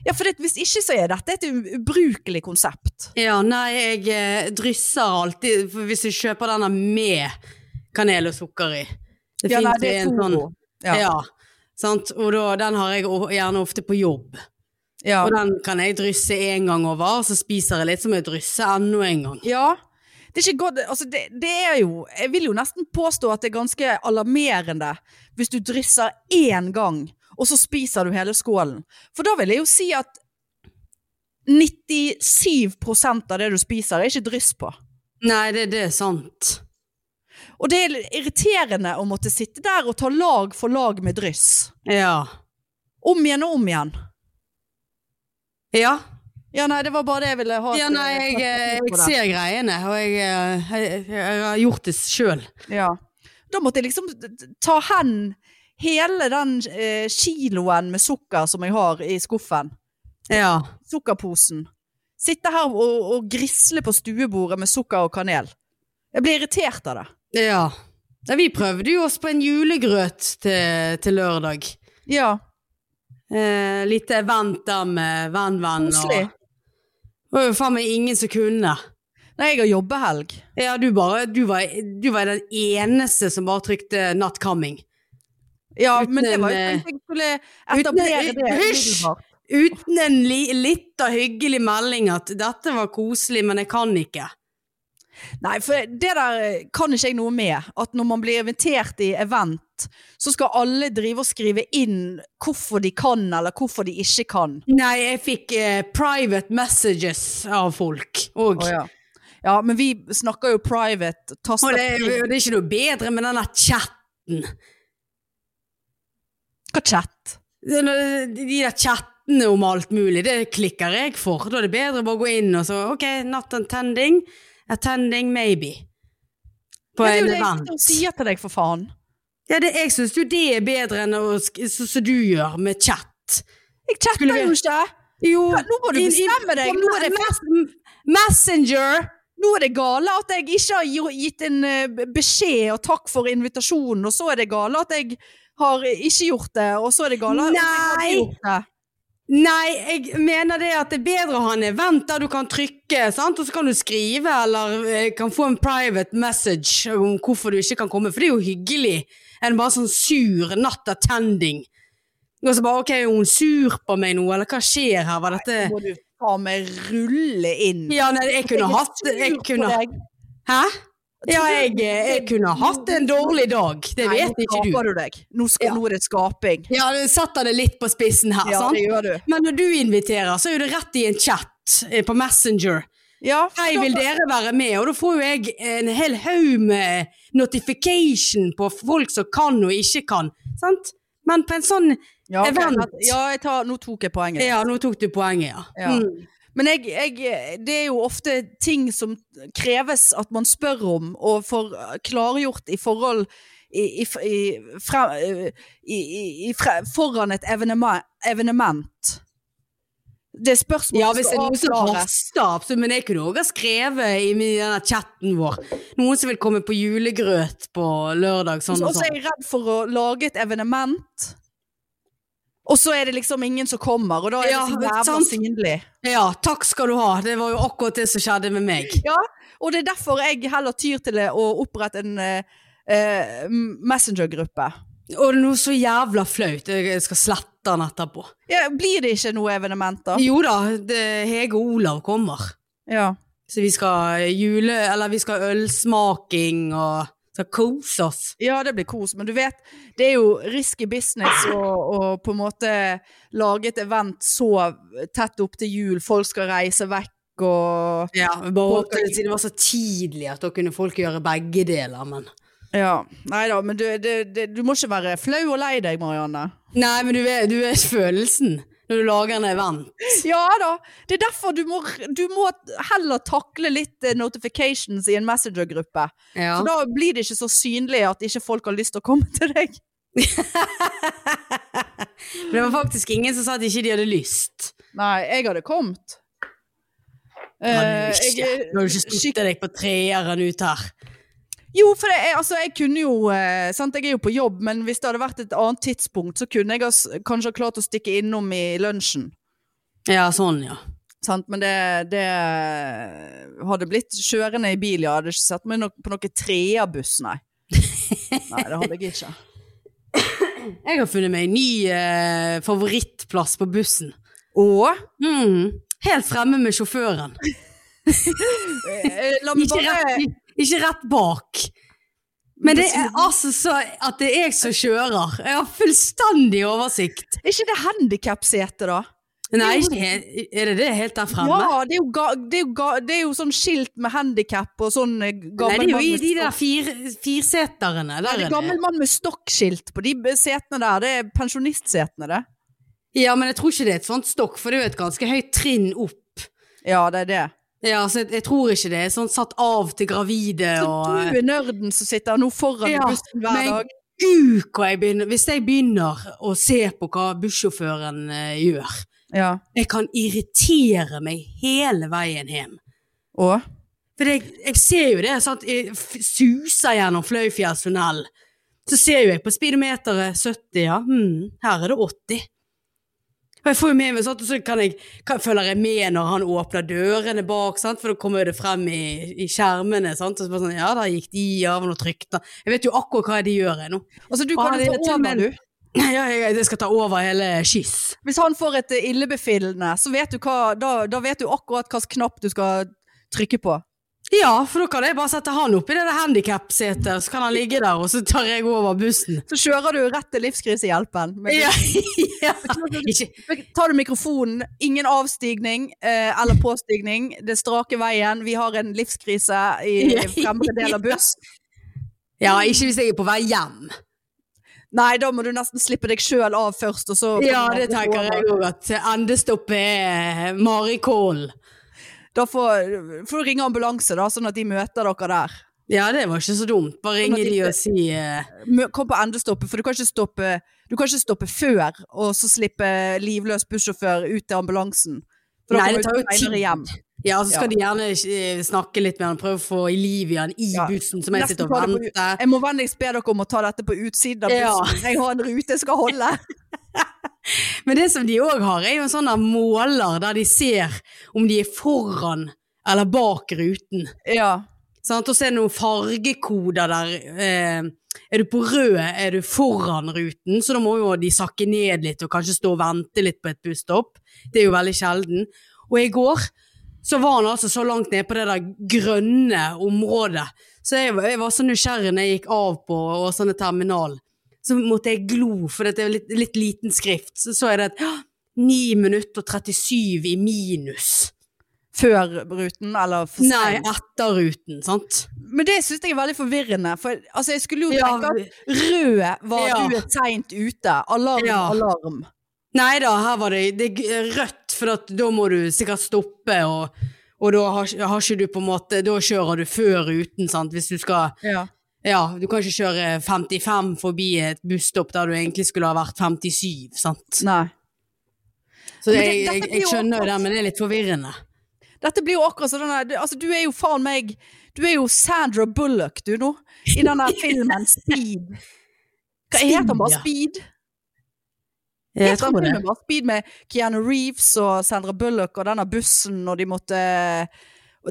Ja, for det, hvis ikke så er dette et ubrukelig konsept. Ja, nei, jeg eh, drysser alltid for hvis jeg kjøper denne med kanel og sukker i. Det Ja, nei, finnes jo det er en sånn Toro. Ja. Ja. sant? Og da, den har jeg o- gjerne ofte på jobb. Ja. Og den kan jeg drysse én gang over, og så spiser jeg litt som jeg drysser enda en gang. ja. Det er ikke godt, altså det, det er jo Jeg vil jo nesten påstå at det er ganske alarmerende hvis du drysser én gang, og så spiser du hele skålen. For da vil jeg jo si at 97 av det du spiser, er ikke dryss på. Nei, det, det er sant. Og det er irriterende å måtte sitte der og ta lag for lag med dryss. Ja. Om igjen og om igjen. Ja, Ja, nei, det var bare det jeg ville ha. ja til- nei, jeg, eh, jeg på det. ser greiene, og jeg, eh, jeg, jeg har gjort det sjøl. Ja. Da måtte jeg liksom ta hen hele den eh, kiloen med sukker som jeg har i skuffen. Ja. Sukkerposen. Sitte her og, og grisle på stuebordet med sukker og kanel. Jeg blir irritert av det. ja. Nei, Vi prøvde jo oss på en julegrøt til, til lørdag. Ja, Eh, litt event der med venn-venn. og- koselig. Det var jo faen meg ingen som kunne. Nei, jeg har jobbehelg. Ja, du, bare, du, var, du var den eneste som bare trykte 'not coming'. Ja, Uten men det var jo en, eh, tenkte jeg skulle uten en- etablere det. Hysj! umiddelbart. Uten en li, litt av hyggelig melding at 'dette var koselig, men jeg kan ikke'. Nei, for det der eh, kan ikke jeg noe med. At når man blir invitert i event, så skal alle drive og skrive inn hvorfor de kan, eller hvorfor de ikke kan. Nei, jeg fikk eh, private messages av folk òg. Å, ja. ja, men vi snakker jo private. Og Taster det, og det er ikke noe bedre med den der chatten. Hva chat? Det er noe- De der chattene om alt mulig, det klikker jeg for. Da er det bedre å bare gå inn og så OK, not attending. Attending maybe. På Ja, det er en jo det jeg event. sitter og sier til deg, for faen. Ja, det, jeg syns jo det er bedre enn å sk- så- som du gjør med chat. Jeg chatter Skulle vi- jo ikke! Jo, Ja, nå må du i- i- bestemme deg. på Nå er det me- mes- Messenger! Nå er det gale at jeg ikke har gir- gitt en eh, beskjed og takk for invitasjonen, og så er det gale at jeg har ikke gjort det, og så er det gale at jeg Nei! har gjort det. Nei, jeg mener det at det er bedre å ha en event der du kan trykke, sant? og så kan du skrive eller eh, kan få en private message om hvorfor du ikke kan komme, for det er jo hyggelig enn bare sånn sur not attending. Og så bare OK, er hun sur på meg nå, eller hva skjer her, var Nå dette må du faen meg rulle inn. Ja, nei, jeg kunne hatt Jeg kunne Hæ? Ja, jeg, eh, jeg kunne hatt en dårlig dag. Det vet ikke Nå du. skaper du deg. Nå, skal, Ja. nå er det skaping. Ja, du setter det litt på spissen her, Ja, sant? det gjør du. Men når du inviterer, så er jo det rett i en chat eh, på Messenger. Ja, Hei, da- vil dere være med? Og da får jo jeg en hel haug med notification på folk som kan og ikke kan, sant? Men på en sånn ja, ok, event. men- Ja, jeg tar, nå tok jeg poenget. Ja, nå tok du poenget, ja. Ja. Mm. Men jeg, jeg, det er jo ofte ting som kreves at man spør om, og får klargjort i forhold i, i, i, fra, i, i, i, fra, foran et evenema- evenement. Det er spørsmål ja, som hvis det skal er noen som sånn avklares. haster, absolutt, men jeg kunne også ha skrevet i min- denne chatten vår noen som vil komme på julegrøt på lørdag, sånn Og og så er sånn. jeg redd for å lage et evenement, og så er det liksom ingen som kommer, og da er Ja, det så jævla sant. synlig. Ja, takk skal du ha. Det var jo akkurat det som skjedde med meg. Ja, og det er derfor jeg heller tyr til å opprette en eh, eh, messengergruppe. Og det er noe så jævla flaut. Jeg skal slette den etterpå. Ja, blir det ikke noe evenement, da? Jo da, det, Hege og Olav kommer. Ja. Så vi skal jule... Eller vi skal ha ølsmaking og skal kose oss. ja, det blir kos, men du vet, det er jo risky business å, å på en måte lage et event så tett opp til jul, folk skal reise vekk og Ja, vi bare håpte det siden det var så tidlig at da kunne folk gjøre begge deler, men Ja. Nei da, men du, det- det- du må ikke være flau og lei deg, Marianne. Nei, men du vet, du vet følelsen når du lager en event. Ja da. Det er derfor du må, du må heller takle litt eh, notifications i en messengergruppe. Ja. For da blir det ikke så synlig at ikke folk har lyst til å komme til deg. Men det var faktisk ingen som sa at ikke de hadde lyst. Nei, jeg hadde kommet. Hadde Eh, du ikke. Du jeg- har jo ikke stått deg på treeren ut her. Jo, for jeg, altså, jeg kunne jo eh, sant? Jeg er jo på jobb, men hvis det hadde vært et annet tidspunkt, så kunne jeg ha s- kanskje ha klart å stikke innom i lunsjen. Ja, sånn, ja. Sant? Men det, det hadde blitt kjørende i bil, ja. Jeg hadde ikke sett meg no på noen treerbuss, [LAUGHS] nei. Nei, det hadde jeg ikke. Jeg har funnet meg en ny eh, favorittplass på bussen. Og Mm. Helt fremme med sjåføren. eh, la meg Ikke bare rett, ikke rett bak. Men det er altså så at det er jeg som kjører. Jeg har fullstendig oversikt. Er ikke det handikapsete, da? Nei, ikke helt, er det det helt der fremme? Ja, det er, jo ga, det, er jo ga, det er jo sånn skilt med handikap og sånn eh, Nei, det gammel er jo mann i med de der stokk. fir, firseterne. Der Nei, det er er gammel det. mann med stokkskilt på de b- setene der. Det er pensjonistsetene, det. Ja, men jeg tror ikke det er et sånt stokk, for det er jo et ganske høyt trinn opp. Ja, det er det. Ja, så jeg, jeg tror ikke det er sånn satt av til gravide Så og eh, du er nerden som sitter nå foran i Ja, bussen hver men- dag. Gud, hva eh, jeg begynner Hvis jeg begynner å se på hva bussjåføren eh, gjør Ja. Jeg kan irritere meg hele veien hjem. Og? For jeg, jeg ser jo det, sant? jeg f- suser gjennom Fløyfjellstunnel. Så ser jo jeg på speedometeret 70, ja, hmm, her er det 80. Og jeg får jo med meg sånn, og så kan jeg, kan, følger jeg med når han åpner dørene bak, sant? for da kommer jo det frem i, i skjermene, sant? og så bare sånn, ja, der gikk de av, og nå trykte han. Jeg vet jo akkurat hva de gjør jeg nå. [CLEARS THROAT] Altså, du Og kan han jo er ta til og med- over, du. Ja, jeg, jeg skal ta over hele skyss. Hvis han får et eh, illebefinnende, så vet du hva, da, da vet du akkurat hvilken knapp du skal trykke på. Ja, for da kan jeg bare sette han opp i det der handicap-setet, så kan han ligge der, og så tar jeg over bussen. Så kjører du rett til livskrisehjelpen. Men- Ja, ja. [LAUGHS] Ikke, Tar du mikrofonen, ingen avstigning eh, eller påstigning, det er strake veien, vi har en livskrise i [LAUGHS] i fremre del av buss. ja, ikke hvis jeg er på vei hjem. Nei, da må du nesten slippe deg sjøl av først, og så Ja, det tenker jeg òg, at endestoppet er Marikålen. Da får får du ringe ambulanse, da, sånn at de møter dere der. Ja, det var ikke så dumt. Bare ringe de og si eh, Mø- Kom på endestoppet, for du kan ikke stoppe, du kan ikke stoppe før, og så slippe livløs bussjåfør ut til ambulansen. For da Nei, det tar kommer du jo senere tid. hjem. Ja, så skal de gjerne eh, snakke litt med han, prøve å få i liv i han i Ja. bussen som jeg Nesten sitter ta og det på ut- venter. Jeg må vennligst be dere om å ta dette på utsiden av Ja. bussen. Jeg har en rute jeg skal holde. [LAUGHS] Men det som de òg har, er jo en sånn der måler der de ser om de er foran eller bak ruten. Ja. Sant? Og så er det noen fargekoder der. Eh, er du på rød, er du foran ruten, så da må jo de sakke ned litt og kanskje stå og vente litt på et busstopp. Det er jo veldig sjelden. Og i går så var han altså så langt ned på det der grønne området, så jeg, var- jeg var så nysgjerrig når jeg gikk av på Åsane terminal. Så måtte jeg glo, for det er litt, litt liten skrift. Så så jeg det at «Hå! 9 minutter og 37 i minus. Før ruten, eller for Nei, sent. etter ruten, sant? Men det syns jeg er veldig forvirrende. For altså, jeg skulle jo Ja, tenke at rød var Ja. du er seint ute. Alarm, Ja. alarm. Nei da, her var det, det er rødt, for at da må du sikkert stoppe, og, og da har, har ikke du på en måte Da kjører du før ruten, sant, hvis du skal Ja, du kan ikke kjøre 55 forbi et busstopp der du egentlig skulle ha vært 57, sant. Nei. Så Men det- jeg, jeg, dette blir jeg jo skjønner jo akkurat- det, men det er litt forvirrende. Dette blir jo akkurat sånn der, du- altså, Du er jo faen meg Du er jo Sandra Bullock, du nå. I [LAUGHS] den der filmen Speed. Hva Speed, heter den bare? ja. Speed? Jeg Heter den tror det. filmen bare Speed med Keanu Reeves og Sandra Bullock og denne bussen når de måtte eh,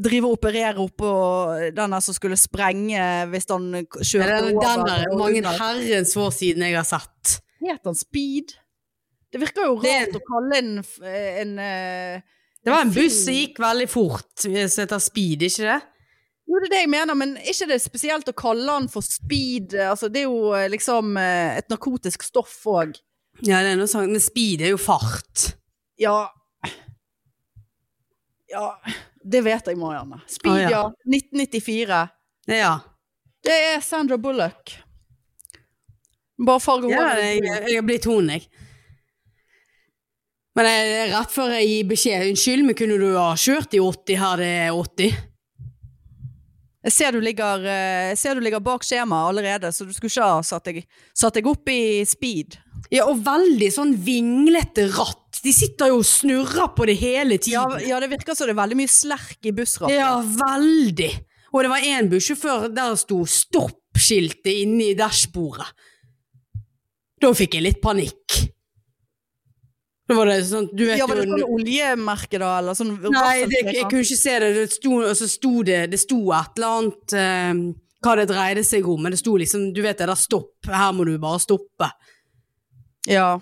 drive og operere oppå den der som skulle sprenge hvis han Ja, kjørte Den, den der er og mange under. herrens år siden jeg har sett. Het han Speed? Det virker jo Det- rart å kalle en, f- en eh, Det var en buss som film. gikk veldig fort, eh, som heter Speed, ikke det? Jo, det er det jeg mener, men er ikke det spesielt å kalle han for speed? Altså, det er jo eh, liksom eh, et narkotisk stoff òg. Ja, det er noe sånt, men speed er jo fart. Ja Ja, det vet jeg, Marianne. Speed, Å, ja. ja. 1994. Ja. Det er Sandra Bullock. Bare farge Ja, jeg, håret. jeg har blitt hun, jeg. Men jeg, rett før jeg gir beskjed Unnskyld, men kunne du ha kjørt i 80 her det er 80? Jeg ser du ligger, eh, jeg ser du ligger bak skjemaet allerede, så du skulle ikke ha satt deg, satt deg opp i speed. Ja, og veldig sånn vinglete ratt. De sitter jo og snurrer på det hele Ja, tiden. ja, det virker som det er veldig mye slerk i bussratten. Ja, veldig. Og det var en bussjåfør der sto stopp-skiltet inne i dashbordet. Da fikk jeg litt panikk. Da var det sånn, du vet Ja, var det jo sånn oljemerke da, eller sånn Nei, det, rasselmerke? jeg kunne ikke se det. Det sto, og så sto det, det sto et eller annet eh, hva det dreide seg om, men det sto liksom Du vet det der stopp, her må du bare stoppe. Ja.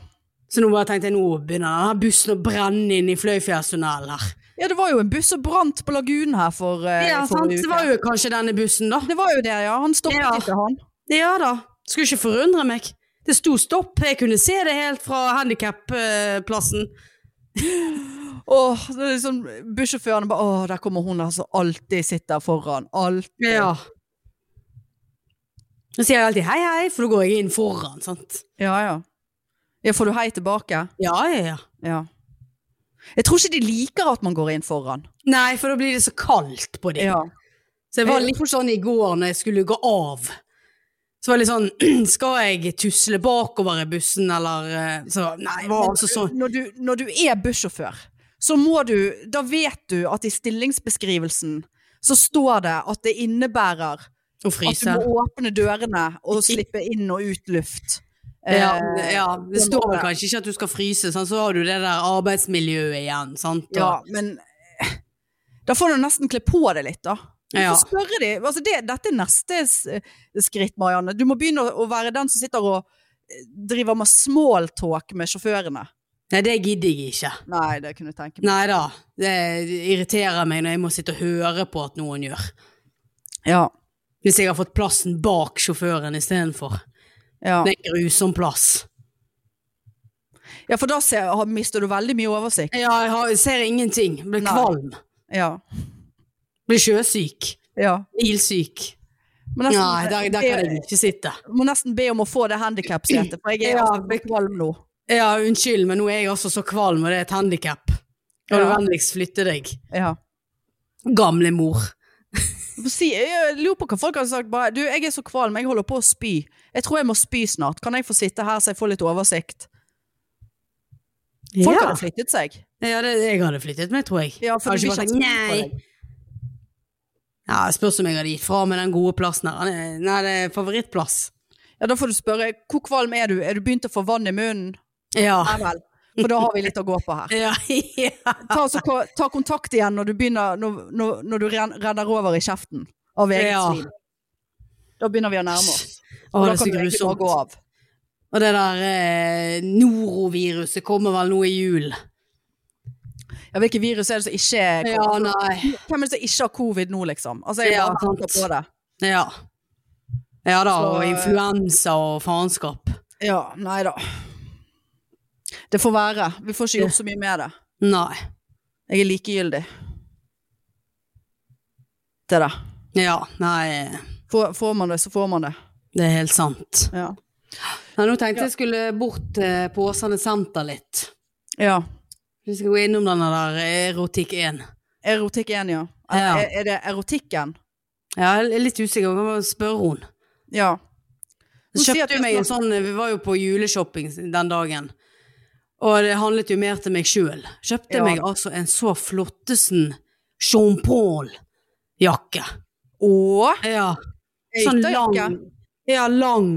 Så nå bare tenkte jeg nå begynner denne bussen å brenne inn i Fløyfjellstunnelen her. ja, det var jo en buss som brant på lagunen her for eh, Ja, sant. forrige Det uke. var jo kanskje denne bussen, da. det var jo det, ja. Han stoppet Ja. ikke, han. Ja da. Skulle ikke forundre meg. Det sto stopp. Jeg kunne se det helt fra handikapplassen. Åh, det er sånn, bussjåføren bare Åh, der kommer hun der som alltid sitter foran. Alltid. Så sier jeg alltid hei, hei, for da går jeg inn foran, sant. ja, ja. Ja, får du hei tilbake? Ja, ja, ja. Ja. Jeg tror ikke de liker at man går inn foran. Nei, for da blir det så kaldt på dem. Så jeg var litt sånn i går når jeg skulle gå av. Så var det litt sånn [CLEARS THROAT] Skal jeg tusle bakover i bussen, eller eh, Så nei, det var altså sånn. når, du, når du er bussjåfør, så må du Da vet du at i stillingsbeskrivelsen så står det at det Å innebærer at du fryse. må åpne dørene og slippe inn og ut luft. Ja, Eh, ja, det står vel kanskje ikke at du skal fryse, sant? så har du det der arbeidsmiljøet igjen. Sant? Og- ja, men eh, da får du nesten kle på deg litt, da. Du Ja. får spørre de. Altså det, dette er neste s- eh, skritt, Marianne. Du må begynne å- å være den som sitter og eh, driver med smalltalk med sjåførene. Nei, det gidder jeg ikke. Nei, det kunne jeg tenke meg. Nei da. Det irriterer meg når jeg må sitte og høre på at noen gjør. Ja, Hvis jeg har fått plassen bak sjåføren istedenfor. ja. Det er en grusom plass. Ja, for da ser, har, mister du veldig mye oversikt. Ja, jeg har, ser ingenting. Blir Nei. kvalm. Ja. Blir sjøsyk. ja. Ilsyk. Må Nei, nesten, der, der kan jeg ikke sitte. må nesten be om å få det handikapsetet, for jeg er Ja, altså kvalm nå. Ja, unnskyld, men nå er jeg altså så kvalm, og det er et handikap. Kan du Ja. vennligst flytte deg? Ja. Gamle mor. Få Si, jeg lurer på hva folk har sagt. Bare, du, jeg er så kvalm, jeg holder på å spy. Jeg tror jeg må spy snart. Kan jeg få sitte her så jeg får litt oversikt? Folk ja. hadde flyttet seg. ja, det, jeg hadde flyttet meg, tror jeg. Ja, for Kanskje det blir bare ikke sånn, at- nei. Ja, det Spørs om jeg hadde gitt fra meg den gode plassen her. Han er- Nei, det er favorittplass. Ja, da får du spørre, hvor kvalm er du? Er du begynt å få vann i munnen? Ja. Nei vel, for da har vi litt å gå på her. [LAUGHS] Ja, ja. Ta, så, ko- ta kontakt igjen når du, begynner, når, når, når du ren- renner over i kjeften av eget Ja. svin. Da begynner vi å nærme oss. Å, det Og da er kan så vi egentlig bare gå grusomt. av. Og det der eh, noroviruset kommer vel nå i jul. Ja, hvilke virus er det som ikke er Ja, nei. Hvem er det som ikke har covid nå, liksom? Altså, jeg Ja, bare venter på sant. det. Ja. Ja da, Så, og eh, influensa og faenskap. Ja, nei da. Det får være. Vi får ikke gjort så mye med det. Nei. Jeg er likegyldig. Det der. Ja, nei. Får, får man det, så får man det. Det er helt sant. Ja. Nei, nå tenkte jeg skulle bort til på Åsane senter litt. ja. Vi skal gå innom denne der Erotikk 1. Erotikk 1, ja. Ja. Er, er det erotikken? Ja, jeg er litt usikker, jeg må spørre hun. Ja. Hun Så sier kjøpte at det jo meg er en sånn, vi var jo på juleshopping den dagen, og det handlet jo mer til meg sjøl. Kjøpte Ja. meg altså en så flottesen Jean Paul-jakke. Åh, Ja, sånn Øytejakke. lang. Ja, lang.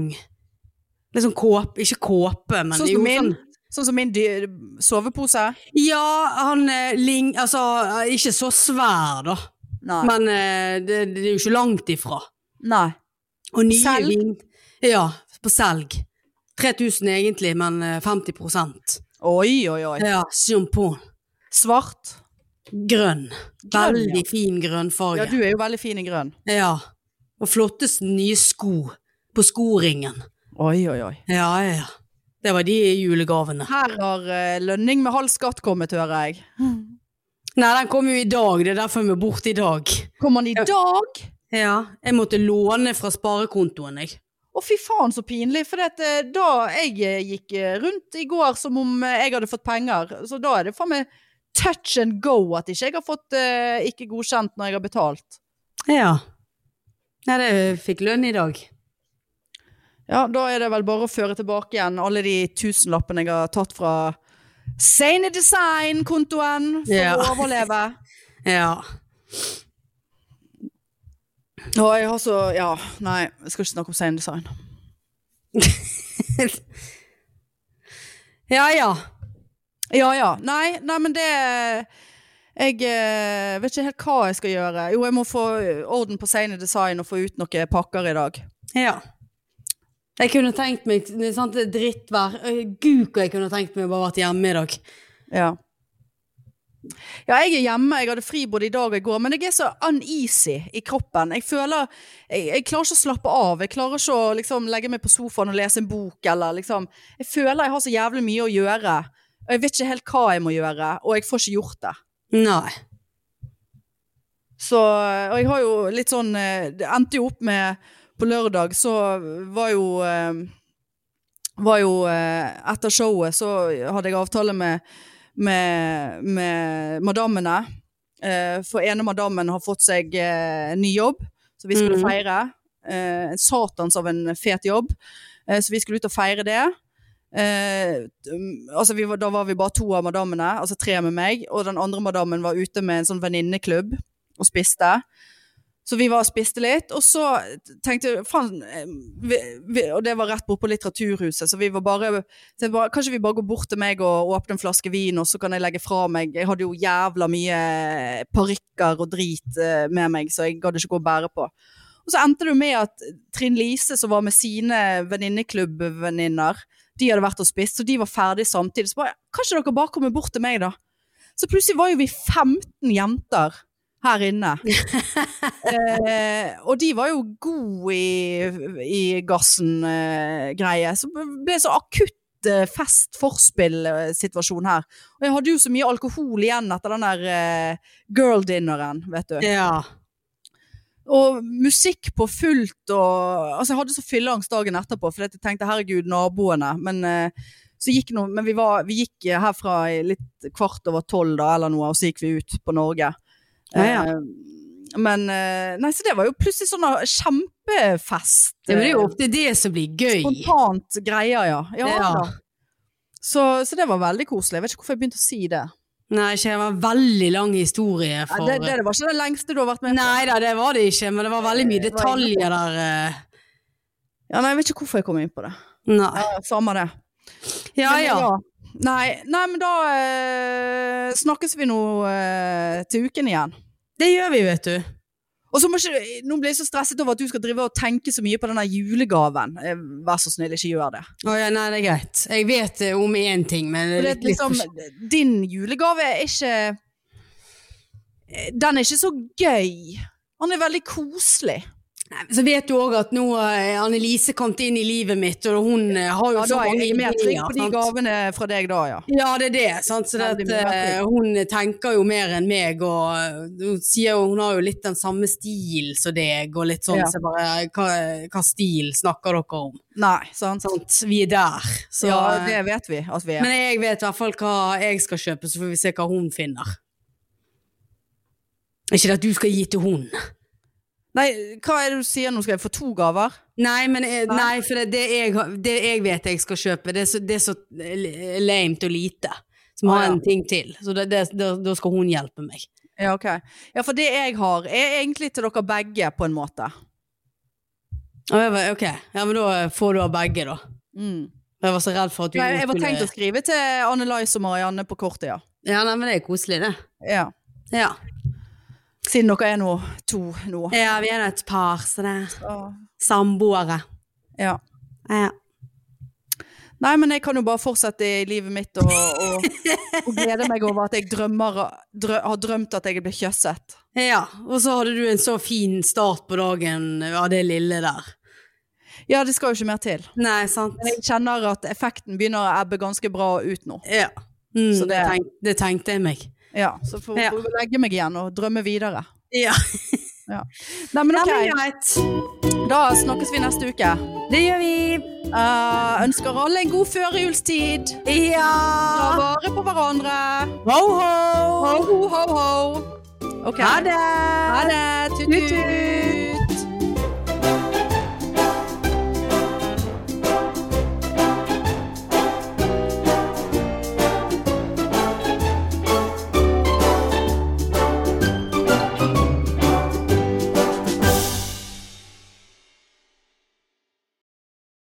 Litt sånn kåpe, ikke kåpe, men sånn jo som min, sånn. sånn som min dy- sovepose? Ja, han eh, ling... Altså, eh, ikke så svær, da. Nei. Men eh, det, det er jo ikke langt ifra. Nei. Og nye Selg? vin... Ja, på selg. 3000 egentlig, men eh, 50 Oi, oi, oi. Ja, sjampon. Svart. Grønn. Grønn, Veldig ja. fin grønnfarge. Ja, du er jo veldig fin i grønn. Ja. Og flotteste nye sko på skoringen. Oi, oi, oi. Ja, ja, ja. Det var de julegavene. Her har eh, lønning med halv skatt kommet, hører jeg. Nei, den kom jo i dag, det er derfor vi er borte i dag. Kom han i Ja. dag? Ja, jeg måtte låne fra sparekontoen, jeg. Å, fy faen, så pinlig. For det, at, eh, da jeg eh, gikk eh, rundt i går som om eh, jeg hadde fått penger, så da er det faen meg touch and go at ikke jeg har fått eh, ikke godkjent når jeg har betalt. Ja. Nei, det fikk lønn i dag. Ja, da er det vel bare å føre tilbake igjen alle de tusenlappene jeg har tatt fra Sane Design-kontoen for Ja. å overleve. Ja. [LAUGHS] Å, jeg har så Ja, nei, jeg skal ikke snakke om Sane Design. Ja ja. Ja, ja. Nei, nei men det Jeg eh, vet ikke helt hva jeg skal gjøre. Jo, jeg må få orden på Sane Design og få ut noen pakker i dag. Ja. Jeg kunne tenkt meg sant, det er drittvær. Øh, Gud, hva jeg kunne tenkt meg å bare vært hjemme i dag. Ja. ja, jeg er hjemme. Jeg hadde fri både i dag og i går, men jeg er så uneasy i kroppen. Jeg føler Jeg, jeg klarer ikke å slappe av. Jeg klarer ikke å liksom, legge meg på sofaen og lese en bok eller liksom Jeg føler jeg har så jævlig mye å gjøre. Og jeg vet ikke helt hva jeg må gjøre, og jeg får ikke gjort det. Nei. Så, og jeg har jo litt sånn eh, Det endte jo opp med På lørdag så var jo eh, Var jo eh, Etter showet så hadde jeg avtale med Med, med madammene. Eh, For ene madammen har fått seg eh, ny jobb, så vi skulle Mhm. feire. Eh, satans av en fet jobb. Eh, så vi skulle ut og feire det. Eh, um, altså vi, var- da var vi bare to av madammene, altså tre med meg, og den andre madammen var ute med en sånn venninneklubb og spiste. Så vi var og spiste litt, og så tenkte jeg faen eh, vi- vi- Og det var rett bortpå Litteraturhuset, så vi var bare, så jeg bare Kanskje vi bare går bort til meg og åpner en flaske vin, og så kan jeg legge fra meg Jeg hadde jo jævla mye parykker og drit eh, med meg, så jeg gadd ikke gå og bære på. Og så endte det jo med at Trinn Lise, som var med sine venninneklubbvenninner, de hadde vært og spist, så de var ferdige samtidig. Så bare, kanskje dere bare kommer bort til meg, da? Så plutselig var jo vi 15 jenter her inne. eh, og de var jo gode i, i gassen-greie. så ble det så akutt eh, fest-forspill-situasjon her. Og jeg hadde jo så mye alkohol igjen etter den der eh, girl-dinneren, vet du. Ja. Og musikk på fullt og Altså, jeg hadde så fylleangst dagen etterpå, for jeg tenkte herregud, naboene. Men eh, så gikk noe, men vi, var, vi gikk eh, herfra i litt kvart over tolv da, eller noe, og så gikk vi ut på Norge. Ja, ja. Eh, men eh, Nei, så det var jo plutselig sånn eh, kjempefest. Det er jo ofte det som blir eh, gøy. Spontant greier, ja. ja, Ja. Da. Så, så det var veldig koselig. Jeg vet ikke hvorfor jeg begynte å si det. Nei, ikke det var en veldig lang historie Nei, for det, det, det var ikke det lengste du har vært med på. Nei da, det var det ikke, men det var veldig mye Det var egentlig- detaljer der. eh. Ja, nei, jeg vet ikke hvorfor jeg kom inn på det. Nei. Ja, Samme det. Ja Men, ja. Nei, nei, men da eh, snakkes vi nå eh, til uken igjen. Det gjør vi, vet du. Og så må ikke, Nå blir jeg så stresset over at du skal drive og tenke så mye på denne julegaven. Eh, Vær så snill, ikke gjør det. Å ja, nei, det er greit. Jeg vet eh, om én ting, men For det litt- litt er liksom, for- din julegave er ikke eh, Den er ikke så gøy. Han er veldig koselig. Nei, Så vet du òg at nå har Annelise kommet inn i livet mitt, og hun eh, har jo Ja, så da er mange jeg mer trygg på de sant? gavene fra deg da, ja. Ja, det er det. Sant? Så det at, Veldig mye mer eh, hun tenker jo mer enn meg, og eh, hun sier jo hun har jo litt den samme stil som deg, og litt sånn Ja. så jeg bare hva, hva stil snakker dere om? Nei, sant? Sant? Vi er der. Så, ja, eh, det vet vi at vi er. Men jeg vet i hvert fall hva jeg skal kjøpe, så får vi se hva hun finner. Ikke det at du skal gi til hun. Nei, hva er det du sier nå? Skal jeg få to gaver? Nei, men, eh, Nei. nei for det, det, jeg, har- det jeg vet jeg skal kjøpe, det er så, det er så eh, l- lamet og lite. Som har Å, ja. en ting til. Så det, det, da- da skal hun hjelpe meg. Ja, ok. Ja, for det jeg har, er egentlig til dere begge, på en måte. Og jeg var, ok, ja, men da får du av begge, da. Jeg var så redd for at du Mm. Jeg, jeg var skulle- tenkt å skrive til Anne Lais og Marianne på kortet, ja. Ja, nei, men det er koselig, det. ja. Ja, Siden dere er nå to nå. ja vi er da et par, så det er Så, samboere. Ja. Ja. Nei, men jeg kan jo bare fortsette i livet mitt og, og, og glede meg over at jeg drømmer, drø, har drømt at jeg blir kjøsset. ja. Og så hadde du en så fin start på dagen av det lille der. Ja, det skal jo ikke mer til. Nei, sant? Men jeg kjenner at effekten begynner å ebbe ganske bra ut nå. Ja. Mm, Så det, det- tenk, det tenkte jeg meg. Ja, så får Ja. får jeg legge meg igjen og drømme videre. Ja. Nei, men ok. Nei, men greit. Da snakkes vi neste uke. Det gjør vi. Eh, ønsker alle en god førjulstid. Ta Ja! vare på hverandre. Ho, ho! Ho, ho, ho, ho. Ok. Ha det! Ha det. Tut, Tut, tut.